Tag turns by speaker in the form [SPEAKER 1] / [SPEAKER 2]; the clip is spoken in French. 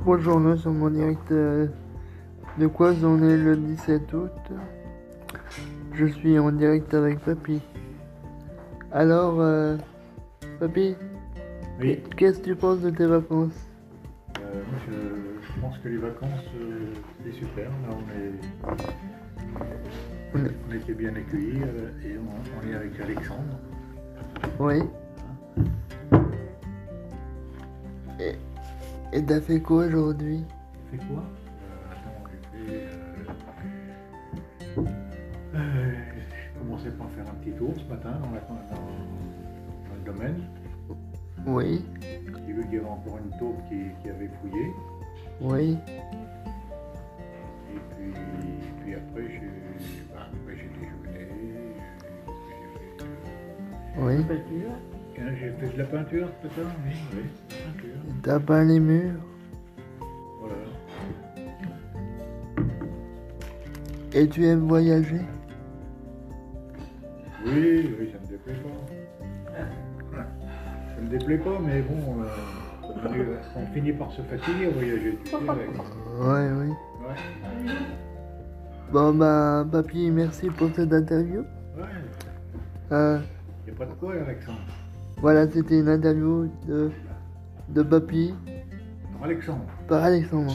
[SPEAKER 1] Trois journaux sont en direct euh, de quoi j'en ai le 17 août. Je suis en direct avec Papy. Alors, euh, Papy,
[SPEAKER 2] Oui,
[SPEAKER 1] qu'est-ce que tu penses de tes vacances
[SPEAKER 2] euh, moi, je, je pense que les vacances, euh, c'est super. Là, on, est,
[SPEAKER 1] On est-
[SPEAKER 2] on était bien accueillis euh, et on, on est avec Alexandre.
[SPEAKER 1] Oui. Et- Et t'as fait quoi aujourd'hui
[SPEAKER 2] J'ai fait quoi Euh, Attends, j'ai fait. euh, euh, j'ai commencé par faire un petit tour ce matin dans, la- dans- dans le domaine.
[SPEAKER 1] Oui,
[SPEAKER 2] J'ai vu qu'il y avait encore une taupe qui, qui avait fouillé.
[SPEAKER 1] oui,
[SPEAKER 2] Et puis, puis après, j'ai bah, après, j'ai déjeuné. j'ai- j'ai fait, euh,
[SPEAKER 1] oui.
[SPEAKER 2] Hein, J'ai fait de la peinture tout à l'heure, oui. Oui, de la peinture.
[SPEAKER 1] T'as peint les murs
[SPEAKER 2] Voilà.
[SPEAKER 1] et tu aimes voyager
[SPEAKER 2] Oui, oui, ça me déplaît pas. Ça me déplaît pas, mais bon, euh, on, arrive- on finit par se fatiguer à voyager, tu sais. avec-
[SPEAKER 1] Ouais, oui.
[SPEAKER 2] Ouais,
[SPEAKER 1] Bon bah, Papy, merci pour cette interview.
[SPEAKER 2] ouais.
[SPEAKER 1] Euh,
[SPEAKER 2] Y a pas de quoi, Alexandre.
[SPEAKER 1] Voilà, c'était une interview de, de Papy
[SPEAKER 2] Alors, Alexandre.
[SPEAKER 1] par Alexandre.